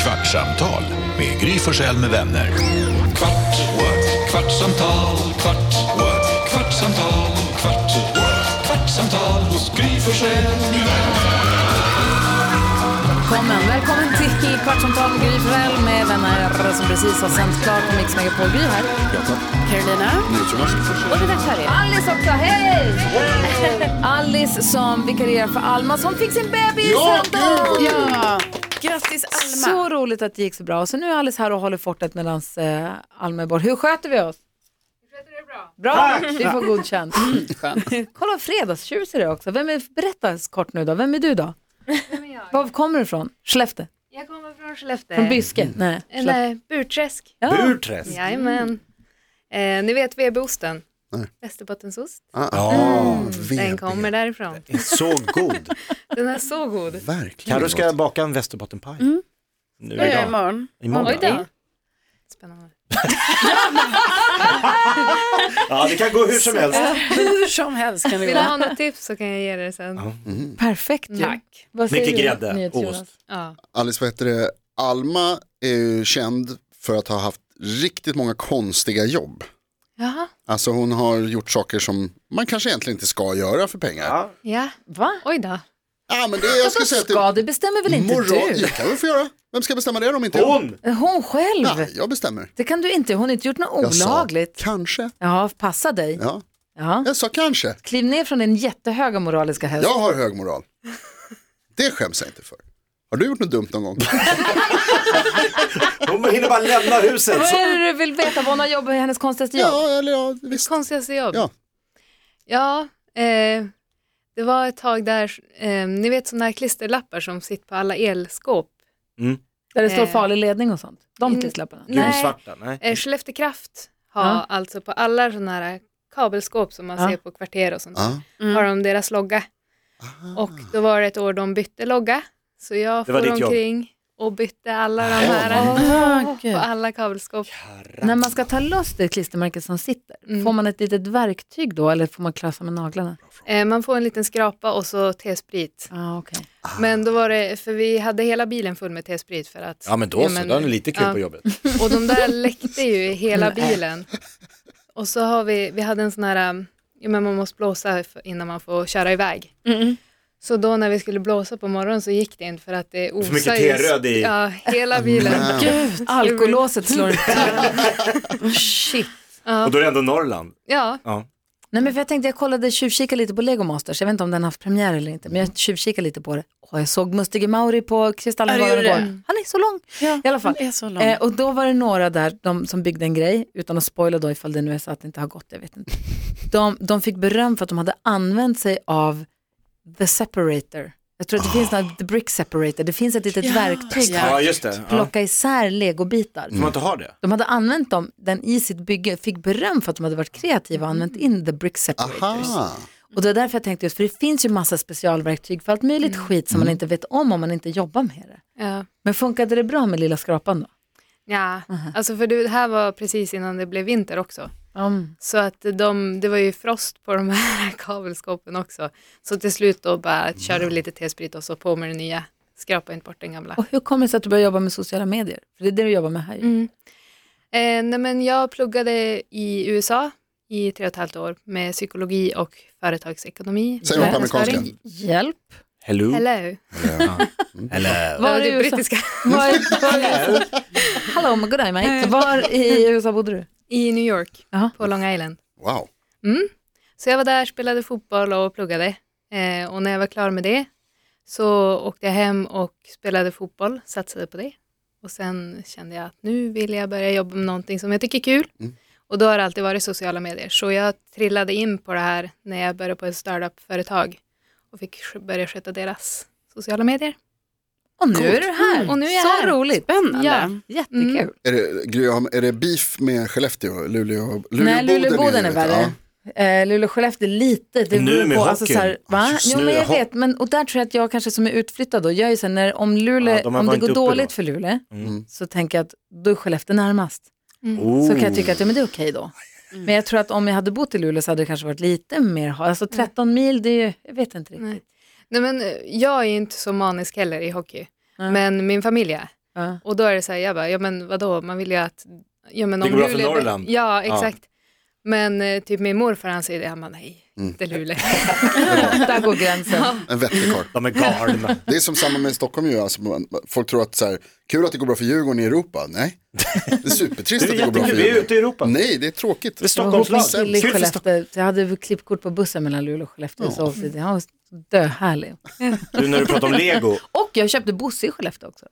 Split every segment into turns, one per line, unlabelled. Kvartsamtal med Gry Forssell med vänner.
Kvart, what? kvartsamtal, kvart, what? kvartsamtal, kvart, what? kvartsamtal hos Gry Forssell med vänner.
Välkommen, välkommen till Kvartsamtal med Gry Forssell med vänner som precis har sänts klart på Mix Megapol. Gry här. Carolina. Och redaktör Alice också, hej! Alice som vikarierar för Alma som fick sin bebis
Ja,
häromdagen.
gud, vad
Ja.
Grattis
Så roligt att det gick så bra. Och så nu är Alice här och håller fortet medan eh, Alma är bort. Hur sköter vi oss? Bra,
Tack. Mm,
vi får godkänt. Kolla fredagstjus är det också. Vem är, berätta kort nu då, vem är du då? Var kommer du ifrån? Skellefteå?
Jag kommer från Skellefteå.
Från Byske? Nej.
Eh,
Skellefteå.
Nej, Burträsk.
Ja.
Burträsk.
Jajamän. Eh, ni vet VB-osten? Västerbottensost.
E
Ja,
Den kommer därifrån.
Så god.
Den är så god.
Verkligen.
Carro ska baka en västerbottenpaj. Nu idag.
imorgon.
Imorgon.
Oj då. Spännande.
Ja, det kan gå hur som helst.
Hur som helst kan det
Vill du
gå.
ha något tips så kan jag ge dig sen.
Ja.
Perfekt ju.
Tack.
Vad säger
Mycket
du,
grädde,
NyhetsJonas?
ost.
Ja.
Alice, vad heter det? Alma är ju känd för att ha haft riktigt många konstiga jobb.
Jaha.
Alltså hon har gjort saker som man kanske egentligen inte ska göra för pengar. Ja,
Ja.
Ja.
Va?
Oj då.
ah, men det jag ska säga att det
Ska du bestämmer väl inte
moral-
du?
Jag kan väl få göra. Vem ska bestämma det om inte jag?
Hon!
Hon själv.
Ja, jag bestämmer.
Det kan du inte. Hon har inte gjort något
Jag sa
olagligt.
Kanske.
Ja, passa dig.
Ja,
Ja.
jag sa kanske.
Kliv ner från den jättehöga moraliska häst.
Jag har hög moral. Det skäms jag inte för. Har du gjort något dumt någon gång?
Hon hinner bara lämna huset.
Vad är det du vill veta? Vad hon har jobbat i hennes konstigaste jobb?
Ja, eller ja, visst.
Konstigaste jobb.
Ja.
Ja, eh, det var ett tag där, eh, ni vet sådana här klisterlappar som sitter på alla elskåp.
Där det står
Eh.
farlig ledning och sånt. De
Mm.
prislapparna.
Gulsvarta, nej.
Eh, Skellefteå Kraft har
Ja.
alltså på alla sådana här kabelskåp som man
Ja.
ser på kvarter och sånt.
Ja.
har de deras logga. Och då var det ett år de bytte logga. Så jag
Det var
for
ditt jobb.
omkring och bytte alla de här eh,
Åh,
på
Gud.
alla kabelskåp.
När man ska ta loss det klistermärket som sitter,
Mm.
får man ett litet verktyg då eller får man klösa med naglarna?
Eh, man får en liten skrapa och så T-sprit.
Ah, okay.
Men då var det, för vi hade hela bilen full med T-sprit för att...
Ja men då så, då har ni lite kul
ja.
på jobbet.
Och de där läckte ju i hela bilen. Och så har vi, vi hade en sån här, um, ja men man måste blåsa f- innan man får köra iväg. Så då när vi skulle blåsa på morgonen så gick det inte för att det osar
mycket
ju-
T-röd i-
Ja, hela bilen.
Gud, alkolåset slår ut. Shit.
Och då är det ändå Norrland.
Ja,
Ja.
Nej, men för jag tänkte jag kollade tjuvkika lite på Lego Masters. Jag vet inte om den har haft premiär eller inte, men jag tjuvkikade lite på det. Åh, jag såg Mustige Mauri på Kristallen
Ja, du
igår.
gjorde
Han är så lång. I alla fall.
Den är så lång.
Eh, och då var det några där de, som byggde en grej, utan att spoila då ifall det nu är så att det inte har gått, jag vet inte. De, de fick beröm för att de hade använt sig av the separator. Jag tror att det finns något, the brick separator, det finns ett litet verktyg
Ja.
för
Ja
att
just det. Ja.
plocka isär legobitar.
Får man inte ha det?
De hade använt dem, den i sitt bygge, fick beröm för att de hade varit kreativa och
Mm.
använt in the brick separators.
Aha.
Och det är därför jag tänkte just, för det finns ju massa specialverktyg för allt möjligt
Mm.
skit som man inte vet om om man inte jobbar med det.
ja.
Men funkade det bra med lilla skrapan då?
ja. alltså för det här var precis innan det blev vinter också.
Mm.
Så att de, det var ju frost på de här kabelskåpen också. Så till slut då bara körde vi lite T-sprit och så på med det nya. Skrapa inte bort den gamla.
Och hur kommer det sig att du började jobba med sociala medier? För det är det du jobbar med här ju.
Mm. Eh, nej men jag pluggade i USA i tre och ett halvt år med psykologi och företagsekonomi.
Säg något på amerikanska.
Marknadsföring.
Hjälp.
Hello?
Hello.
Var
Hello.
Var
i
det
USA?
brittiska?
Var, var, hello, my good day mate. Var i USA bodde du?
I New York,
Jaha.
på Long Island.
Wow.
Mm. Så jag var där, spelade fotboll och pluggade. Eh, och när jag var klar med det så åkte jag hem och spelade fotboll, satsade på det. Och sen kände jag att nu vill jag börja jobba med någonting som jag tycker är kul. Och då har det alltid varit sociala medier. Så jag trillade in på det här när jag började på ett startup-företag och fick sk- börja sköta deras sociala medier.
Och nu är du här.
Mm. Och nu är jag
så
här. Mm.
roligt.
Spännande.
Ja, jättekul.
Är det, Gry, har- är det beef med Skellefteå? Luleå? Luleå
Nej, Luleåboden är värre. Eh, Luleå-Skellefteå lite. Det
Nu
beror
med
på, alltså,
hockeyn.
så här, va?
Alltså,
Jo, men jag
snö- hock-
vet, men, och där tror jag att jag kanske som är utflyttad då, jag är ju så här, när, om, Luleå,
Ja, de här
om
var
det
inte
går
uppe
dåligt
då.
för Luleå
Mm.
så tänker jag att då är Skellefteå närmast.
Oh.
Så kan jag tycka att ja, men det är okej då. Men jag tror att om jag hade bott i Luleå så hade det kanske varit lite mer, ha- alltså 13 mil, det är ju, jag vet inte riktigt.
Nej men eh, jag är ju inte så manisk heller i hockey, men min familj är.
Ja.
Och då är det så här, jag bara, ja men vadå, man vill ju att... Ja, men
Det
om
går bra för
Luleå-
Norrland.
Ja, exakt. Men eh, typ min morfar han säger det, han bara nej,
Mm.
inte Luleå.
Där går gränsen.
En vettig karl.
De är galna.
Det är som samma med Stockholm ju, alltså, man- folk tror att så här, kul att det går bra för Djurgården i Europa. Nej, det är supertrist
Det
att
är
det går bra för
jättekul, vi är ute
Djurgården.
i Europa.
Nej, det är tråkigt.
Det
Jag
är
var ihop med
Stockholms
en kille i
lag.
Skellefteå. Jag hade klippkort på bussen mellan Luleå och Skellefteå. Så ofta. Han var döhärlig.
Du när du pratar om lego,
Och jag köpte Bosse i Skellefteå också.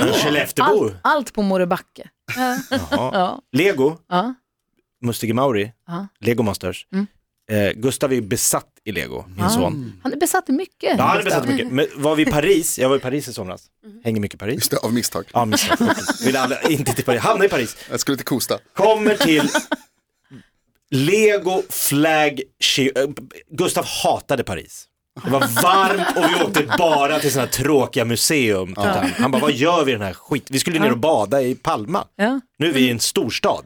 en Skelleftebo.
Allt, allt på Morebacke.
Jaha.
Ja.
Lego,
Ja.
Mustige Mauri,
Ja.
Lego Masters. Eh, Gustav är ju besatt i lego,
Ah.
min son.
Han är besatt i mycket.
Ja, han är
Gustav.
besatt mycket. Men var vi i Paris, jag var i Paris i somras, hänger mycket i Paris.
Just det, av misstag.
Ja, men Vill alla, inte till Paris, hamna i Paris.
Jag skulle till Kosta.
Kommer till Lego Flag Shi- eh, Gustav hatade Paris. Det var varmt och vi åkte bara till sådana tråkiga museum. tittade Han Han bara, vad gör vi i den här skit? Vi skulle ner och bada i Palma.
Ja.
Nu är vi i en storstad.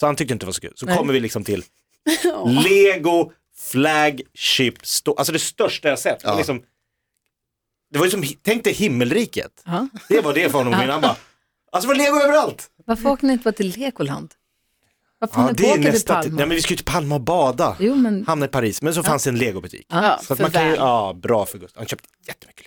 Så han tyckte inte det var så kul. Så kommer vi liksom till Lego Flagship Store. Alltså det största jag sett. Det var Liksom, det var ju som, tänk dig himmelriket.
Ja.
Det var det för honom. Men Han bara, alltså det var Lego överallt.
Varför åker ni inte bara till Legoland? Varför
Ja,
åker
det
ni
är
inte åka till
nästa.
Palma?
till- Nej men vi ska ju till Palma och bada.
Jo, men-
Hamna i Paris. Men så fanns det en legobutik.
Ja,
så att man kan ju, ja bra för Gustav. Han köpte jättemycket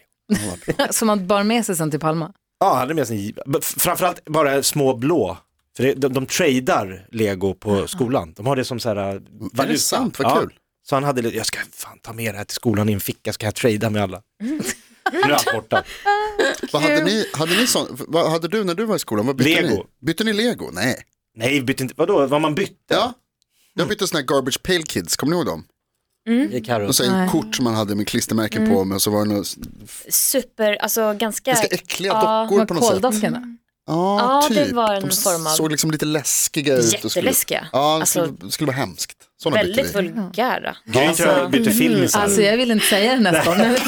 lego.
Som man bar med sig sen till Palma.
Ja, han hade med sig, men framförallt bara små blå. För det, de, de tradar lego på skolan. De har det som så här äh, valuta.
sant? Vad kul.
Så han hade, lite- jag ska fan ta med det här till skolan i en ficka, ska jag trada med alla. Nu är allt borta.
Vad hade ni, hade ni sån, vad hade du när du var i skolan? Vad bytte
Lego.
ni? Bytte ni lego? Nej.
Nej, bytte inte, vadå, vad man bytte?
Ja. Jag bytte såna här garbage pail kids, kommer ni ihåg dem?
Gick här
De
och-
säger kort som man hade med klistermärken på
Mm.
men så var det några s-
Super, alltså ganska...
ganska äckliga
Ja,
dockor på något sätt.
Koldockorna.
Mm.
Ja, typ.
Ja, det var en
de s-
form av-
såg liksom lite läskiga ut. och skulle-
Jätteläskiga.
Ja, det
Alltså-
skulle, det skulle vara hemskt. Sådana
Väldigt
bytte vi.
vulgära.
Gry tror jag bytte film sen.
Alltså jag vill inte säga det nästa gång. när vi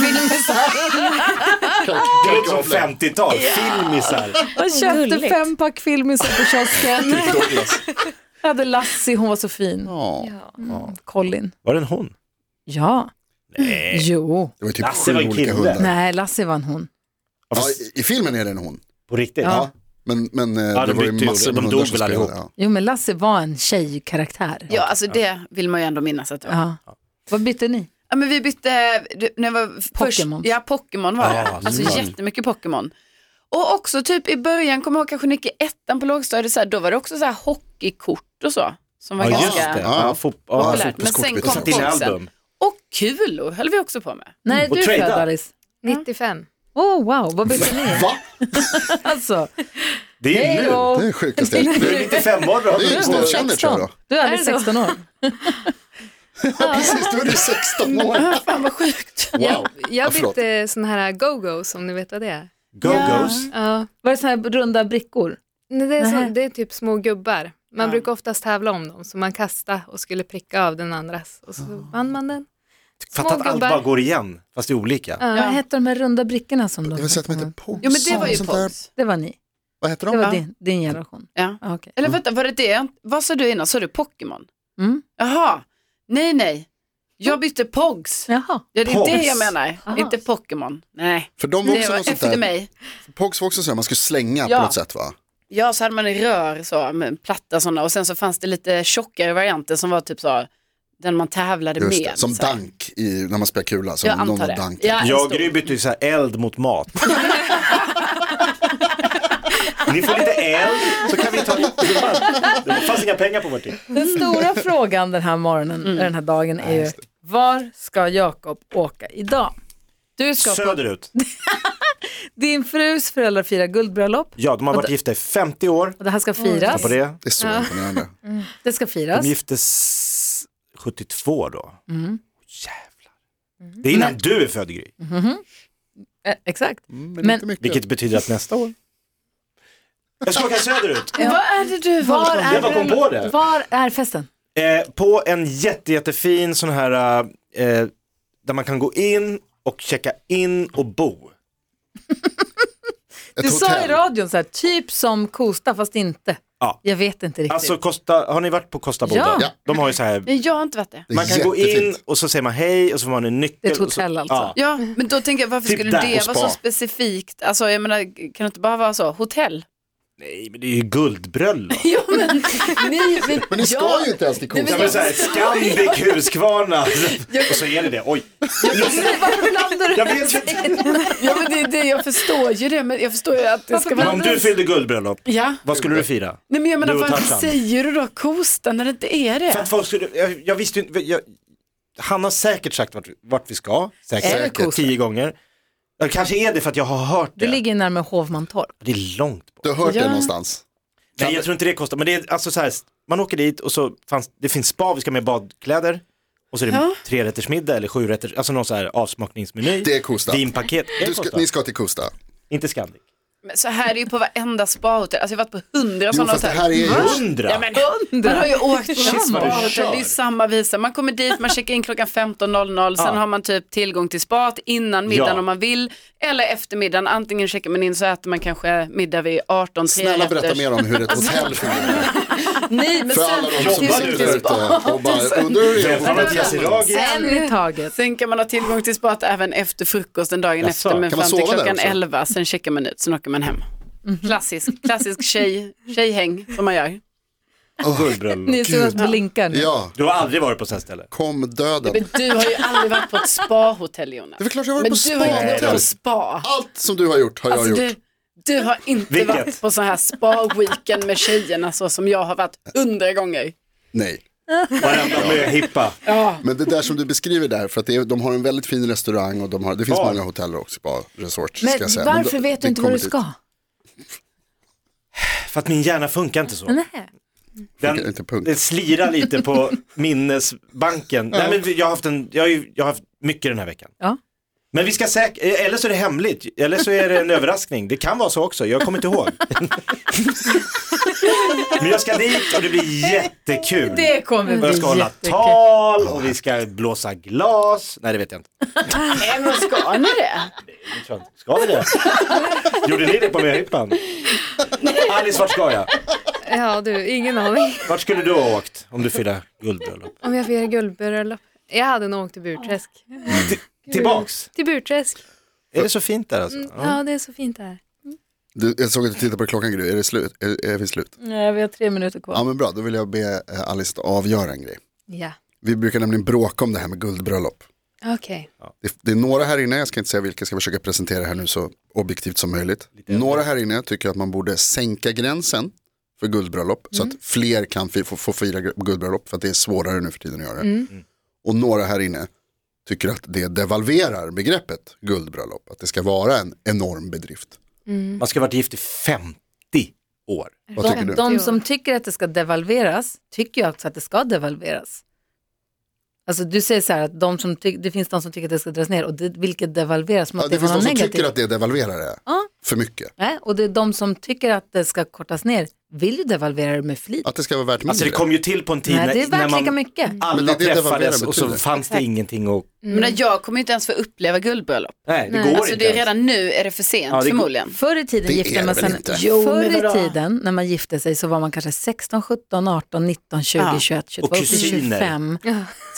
det är lite som 50-tal, filmisar.
Jag köpte
Gulligt.
fem pack filmisar på
Typ
kiosken.
Douglas.
Jag hade Lassie, hon var så fin.
Ja,
Colin.
Var det en hon?
Ja.
Nej.
Jo.
det var ju typ
Lasse
sju
var en
olika
kille.
hundar.
Nej, Lassie var en hon.
Ja,
Ja, i- I filmen är det en hon.
På riktigt?
Ja. Men, men eh, det
de
var ju
bytte ju
massor
ord.
med
De
hundar
dog
som
väl
spelade.
allihop.
Ja.
Jo, men Lassie var en tjejkaraktär.
Ja, alltså det vill man ju ändå minnas att det var.
Ja. Vad bytte ni?
Ja, men vi bytte, det- när jag var först,
Pokémon.
ja Pokémon var det.
Ah,
alltså
mm.
jättemycket Pokémon. Och också typ i början, kommer jag ihåg kanske Nick i ettan på lågstadiet, så här, då var det också så här hockeykort och så. Som var
Ja, just
ganska
det. Ja, fot- ja,
populärt. Men
fotbollskort
sen
bytte
kom
vi.
Dina
polsen.
album.
Och kulor höll vi också på med.
När är
Och
du
trada.
född, Alice?
95.
Oh, wow, vad bytte ni?
Va?
Alltså,
Det är ju nu.
Hej
Det är sjukaste jag
Du är 95 år då.
Det är ju snällkännare tror jag då.
du är aldrig 16 år.
Ja, precis, då är du 16 år.
Fan vad sjukt.
Wow.
Jag,
Ja,
jag
förlåt.
bytte sån här go-go som ni vet vad det är.
Go-go's.
Ja.
Var det sådana här runda brickor?
Nej, det, är
Nähä.
så, det är typ små gubbar. Man brukar oftast tävla om dem, så man kastade och skulle pricka av den andras och så vann man den.
Fatta Ah. att allt
gubbar.
bara går igen, fast det är olika.
Vad hette de här runda brickorna som de
Jag vill säga att de heter
Jo men det var ju
Sånt där.
Pogs.
Det var ni.
Vad heter
Det
de?
var
Ja.
din, din generation.
Ja.
Ah, okej.
Eller vänta, var det det? Vad sa du innan? Sa du Pokémon?
Mm.
Jaha, nej nej. Jag bytte Pogs.
Jaha.
Ja, det är
Pogs.
det jag menar. Inte Pokémon. Nej,
För de var
det
också
var
något sånt
efter
där.
mig.
Pogs var också sådär, man skulle slänga
Ja.
på något sätt va?
Ja, så hade man i rör så, med platta sådana och sen så fanns det lite tjockare varianter som var typ så, den man tävlade
Just
med.
det. Som
så här.
dank i, när man spelar kula. Som
Jag
någon var
antar det.
dank.
Ja, en
Jag och
stor.
Gry bytte ju typ så här eld mot mat. Ni får lite eld, så kan vi ta... Det fanns inga pengar på vår tid.
Den stora frågan den här morgonen, den här dagen är ju, var ska Jakob åka idag? Du ska på,
Söderut.
din frus föräldrar firar guldbröllop
Ja, de har varit gifta i 50 år.
och det här ska
Ta
firas.
på det.
Det är så imponerande. Mm,
Det ska firas.
De giftes 72 då.
Mm.
Jävlar. Det är innan du är född Gry.
Eh, exakt.
Men, inte mycket.
Vilket betyder att nästa år. Jag ska åka söderut.
Vad är det du
Var
var?
Jag bara kom
är,
på det.
var är festen?
Eh, på en jätte, jättefin sån här, eh, där man kan gå in och checka in och bo.
Ett
Du sa i
hotell.
radion så här, typ som Kosta fast inte.
Ja.
Jag vet inte riktigt.
Alltså Costa, har ni varit på Costa Boda?
Ja.
Ja.
De har ju så här,
Nej, jag har inte varit det.
Det är
man kan gå in
jättefint.
och så säger man hej och så får man en nyckel.
Det är ett
och så-
hotell alltså.
Ja.
Ja, men då tänker jag varför
Typ
skulle
där
det
och
vara
spa.
så specifikt? Alltså jag menar, kan det inte bara vara så? Hotell?
Nej men det är ju guldbröllop.
Jo, men, ni, men,
Men ni ska
jag,
ju inte ens till
Nej, men
Ja,
Kungsholmen.
men så här, Scandic Huskvarna. Och så är det det, oj.
Varför blandar du
Jag vet inte.
Ja, men det, det, jag förstår ju det, men jag förstår ju att det ska
Men om du fyllde guldbröllop,
Ja,
vad skulle du fira?
nej men jag menar
Du och
varför
Tarzan.
säger du då Kosta när det inte är
För
det?
att folk skulle, jag, jag visste ju inte, jag, han har säkert sagt vart, vart vi ska,
Är det
säkert,
Kosta?
tio gånger. Ja, Kanske är det för att jag har hört
Det
det.
ligger ju närmare Hovmantorp.
Det är långt bort.
Du har hört
Ja.
det någonstans.
Nej jag tror inte det kostar, men det är alltså så här, man åker dit och så fanns, det finns spa, vi ska med badkläder. Och så är det
Ja.
trerättersmiddag eller sjurätters, alltså någon så här avsmakningsmeny.
Det är Kosta.
Vinpaket, det är
Du ska,
Kosta.
ni ska till
Alltså,
Kosta.
Inte Scandic.
Men så här är ju på varenda spahotell, alltså jag har varit på hundra
Jo,
sådana
fast det
hotell.
här är ju...
Hundra!
Ja, men hundra. Man har ju åkt på
Shit, vad du kör.
spahotell, det är samma visa. Man kommer dit, man checkar in klockan 15.00, sen
Ja.
har man typ tillgång till spat innan middagen
Ja.
om man vill, eller eftermiddagen, antingen checkar man in så äter man kanske middag vid 18,
Snälla berätta
trerätters.
mer om hur ett
Alltså,
hotell fungerar.
Nej, men
För alla de som
Jobbar
sitter
du
där
för
ute och bara
Alltså,
undrar hur det
Välkommen till
är.
Yassiragi.
en i taget.
Sen kan man ha tillgång till spat även efter frukosten dagen
Jaså,
efter, men
kan man
fram till
sova där
klockan
också?
11, sen checkar man ut, sen åker man hem. Klassisk, klassisk tjej, tjejhäng som man gör.
Guldbröllop.
Ni ser oss
Gud.
blinkar nu.
Ja,
Du har aldrig varit på sånt ställe?
kom döden.
Men du har ju aldrig varit på ett spahotell Jonas.
Det är väl klart jag har
Men
varit på
du har ju varit
spa.
på spa.
Allt som du har gjort har jag
Alltså,
gjort.
du, du har inte
Vilket?
varit på sån här spa-weekend med tjejerna så som jag har varit hundra gånger.
Nej.
Varenda möhippa.
Men det där som du beskriver där, för att det är, de har en väldigt fin restaurang och de har, det finns
Bar.
många hotell också, spa, resort.
Men
ska jag säga. Men
varför
då-
vet du
det
inte vad
kommer
du
dit.
ska?
För att min hjärna funkar inte så.
Nej.
Funkar
Den,
inte, punkt.
den slirar lite på minnesbanken. Nej, men jag, har haft en, jag, har ju, jag har haft mycket den här veckan.
Ja.
Men vi ska säkert, eller så är det hemligt, eller så är det en överraskning. Det kan vara så också, jag kommer inte ihåg. men jag ska dit och det blir jättekul.
Det kommer
Och jag ska hålla tal och vi ska blåsa glas. Nej, det vet jag inte.
Nej men ska ni det?
Det tror jag inte. Ska vi det? Gjorde ni det på möhippan? Alice, vart ska jag?
Ja, du, ingen aning.
Vart skulle du ha åkt om du fyllde guldbröllop?
Om jag firar guldbröllop. Jag hade nog åkt till Burträsk.
Ah,
Tillbaks!
Till Burträsk.
Är det så fint där alltså? Ja.
Ja, det är så fint där.
Du, jag såg att du tittade på klockan Gry, är, det slut? Är, är vi slut?
Nej, vi har tre minuter kvar.
Ja men bra, då vill jag be eh, Alice att avgöra en grej.
Ja,
Vi brukar nämligen bråka om det här med guldbröllop.
okej.
Det, det är några här inne, jag ska inte säga vilka, jag ska försöka presentera här nu så objektivt som möjligt. Några här inne tycker att man borde sänka gränsen för guldbröllop så
Mm.
att fler kan fi, få, få fira gr- guldbröllop för att det är svårare nu för tiden att göra det.
Mm.
Mm.
Och några här inne tycker att det devalverar begreppet guldbröllop, att det ska vara en enorm bedrift.
Man ska ha varit gift i 50 år.
Mm.
Vad tycker du?
De som tycker att det ska devalveras tycker ju också att det ska devalveras. Alltså du säger så här att de som ty- det finns de som tycker att det ska dras ner och det, vilket devalveras som
Ja,
att det,
det finns
var något
de som
negativt.
tycker att det devalverar det
Ja.
för mycket.
Nej, och det är de som tycker att det ska kortas ner vill ju devalvera det med flit.
Att det ska vara värt mindre.
Alltså det kom ju till på en tid
Nej, det är
när, när
värt lika
man
mycket.
Men
alla
det är det
träffades
devalvera
och så
betyder.
fanns det ingenting och...
Men jag kommer ju inte ens få uppleva guldbröllop.
Nej, det
Nej.
går
Alltså
inte
det är
ens.
redan nu är det för sent
Ja, det-
förmodligen.
Förr i tiden
Det är
gifte
det
man
väl
sig,
inte?
Jo,
förr
men
i
vadå?
tiden när man gifte sig så var man kanske 16, 17, 18, 19, 20,
Ja.
21, 22,
Och
upp till
kusiner.
25.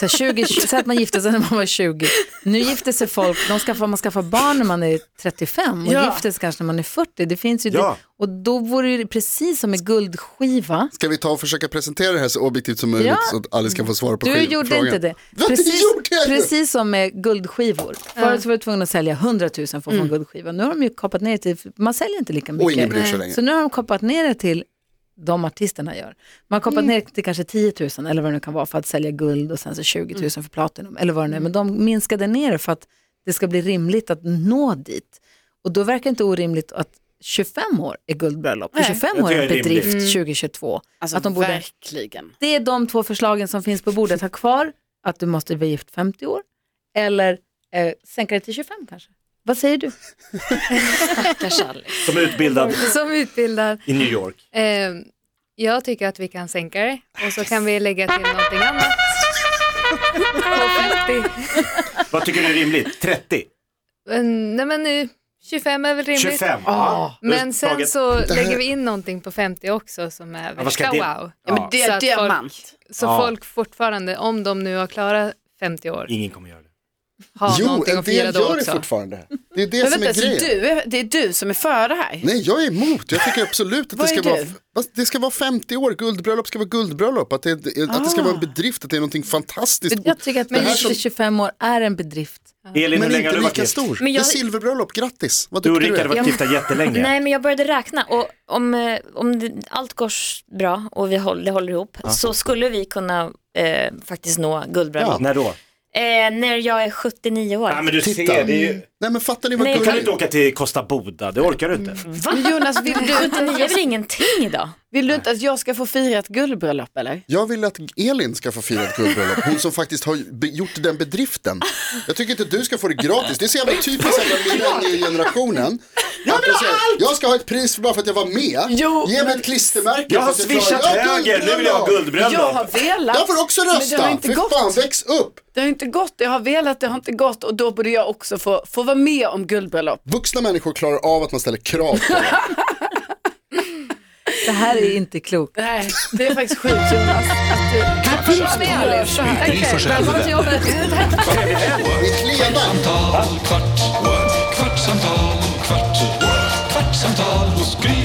Så, här 20, så att man gifte sig när man var 20. Nu gifter sig folk, de skaffar, man skaffar barn när man är 35 och
Ja.
gifter sig kanske när man är 40. Det finns ju
Ja.
det. Och då vore det precis som med guldskiva.
Ska vi ta och försöka presentera det här så objektivt som möjligt
Ja.
så att Alice kan få svara på
Du
skiv-
gjorde
frågan?
inte det.
Vad
Precis,
gjorde jag ju?
precis som med guldskivor. Förut så var du tvungen att sälja 100 000 för att få en guldskiva. Nu har de ju kapat ner det till, man säljer inte lika mycket.
Och ingen bryr sig längre.
Så nu har de koppat ner det till de artisterna gör. Man har koppat ner det till kanske 10 000 eller vad det nu kan vara för att sälja guld och sen så 20 000 för platinum eller vad det nu är. Men de minskade ner det för att det ska bli rimligt att nå dit. Och då verkar det inte orimligt att 25 år är guldbröllop och 25
Jag
år
tycker
är
det är
bedrift 2022.
Alltså
att de borde
verkligen.
det är de två förslagen som finns på bordet. Ha kvar att du måste bli gift 50 år eller eh, sänka det till 25 kanske. Vad säger du?
Som utbildad
Som utbildad.
i New York.
Eh, jag tycker att vi kan sänka det och så kan vi lägga till någonting annat. På 50.
Vad tycker du är rimligt? 30?
Men, nej men nu, 25 är väl rimligt.
25. Ja.
Men sen
Taget.
så
här-
lägger vi in någonting på 50 också som är
vad ska
värsta
det-
wow.
Ja, men det
Så
är
att
diamant.
Så
Ja.
folk fortfarande, om de nu har klarat 50 år,
Ingen kommer göra det.
har
Jo,
någonting
en
att fira
del
då
gör det
också.
fortfarande. Det är det
Men
som
vänta,
är
så
grejen.
du, är- det är du som är för det här?
Nej, jag är emot. Jag tycker absolut att det
Vad
ska,
är
vara,
du?
Fast det ska vara 50 år. Guldbröllop ska vara guldbröllop. Att det, att det ska vara en bedrift, att det är någonting fantastiskt.
Jag tycker att
Det här
min
som-
25 år är en bedrift.
Elin, hur
men
länge har
inte
du varit
lika
gift?
stor.
Men
Det är
jag-
silverbröllop, grattis. Vad
Du och
duktig du
Rickard
är.
har varit gifta jättelänge.
Nej men jag började räkna och om, eh, om det, allt går s- bra och vi håller, det håller ihop så skulle vi kunna eh, faktiskt nå guldbröllop.
När då?
Eh, när jag är 79 år.
Ja, men du
Titta.
ser, det är ju...
Nej men fattar ni vad
Nej,
Du kan
gulligt.
inte åka till Costa Boda, det orkar du inte.
Men Jonas, vill du,
79 är väl ingenting idag?
vill du inte att jag ska få fira ett guldbröllop eller?
Jag vill att Elin ska få fira ett guldbröllop, hon som faktiskt har be- gjort den bedriften. Jag tycker inte att du ska få det gratis, det är så jävla typiskt jävla millenniegenerationen. Jag vill ha allt! Jag ska ha ett pris för bara för att jag var med.
Jo,
Ge mig ett klistermärke.
Jag har
för att klarar-
swishat
Ja,
höger, nu vill jag ha
Jag har
guldbröllop.
velat.
Jag får också rösta,
Men det har inte
Fy
gått.
fan väx upp.
Det har inte gått, jag har velat, det har inte gått och då borde jag också få, få vara med om guldbröllop.
Vuxna människor klarar av att man ställer krav på dem.
Det här är inte klokt.
Nej, det är faktiskt sjukt Jonas. Att du,
Med Gry Forssell med vänner.
Vi är klena.
Kvartsamtal, kvart, what? kvartsamtal, kvart, what? kvartsamtal hos Gry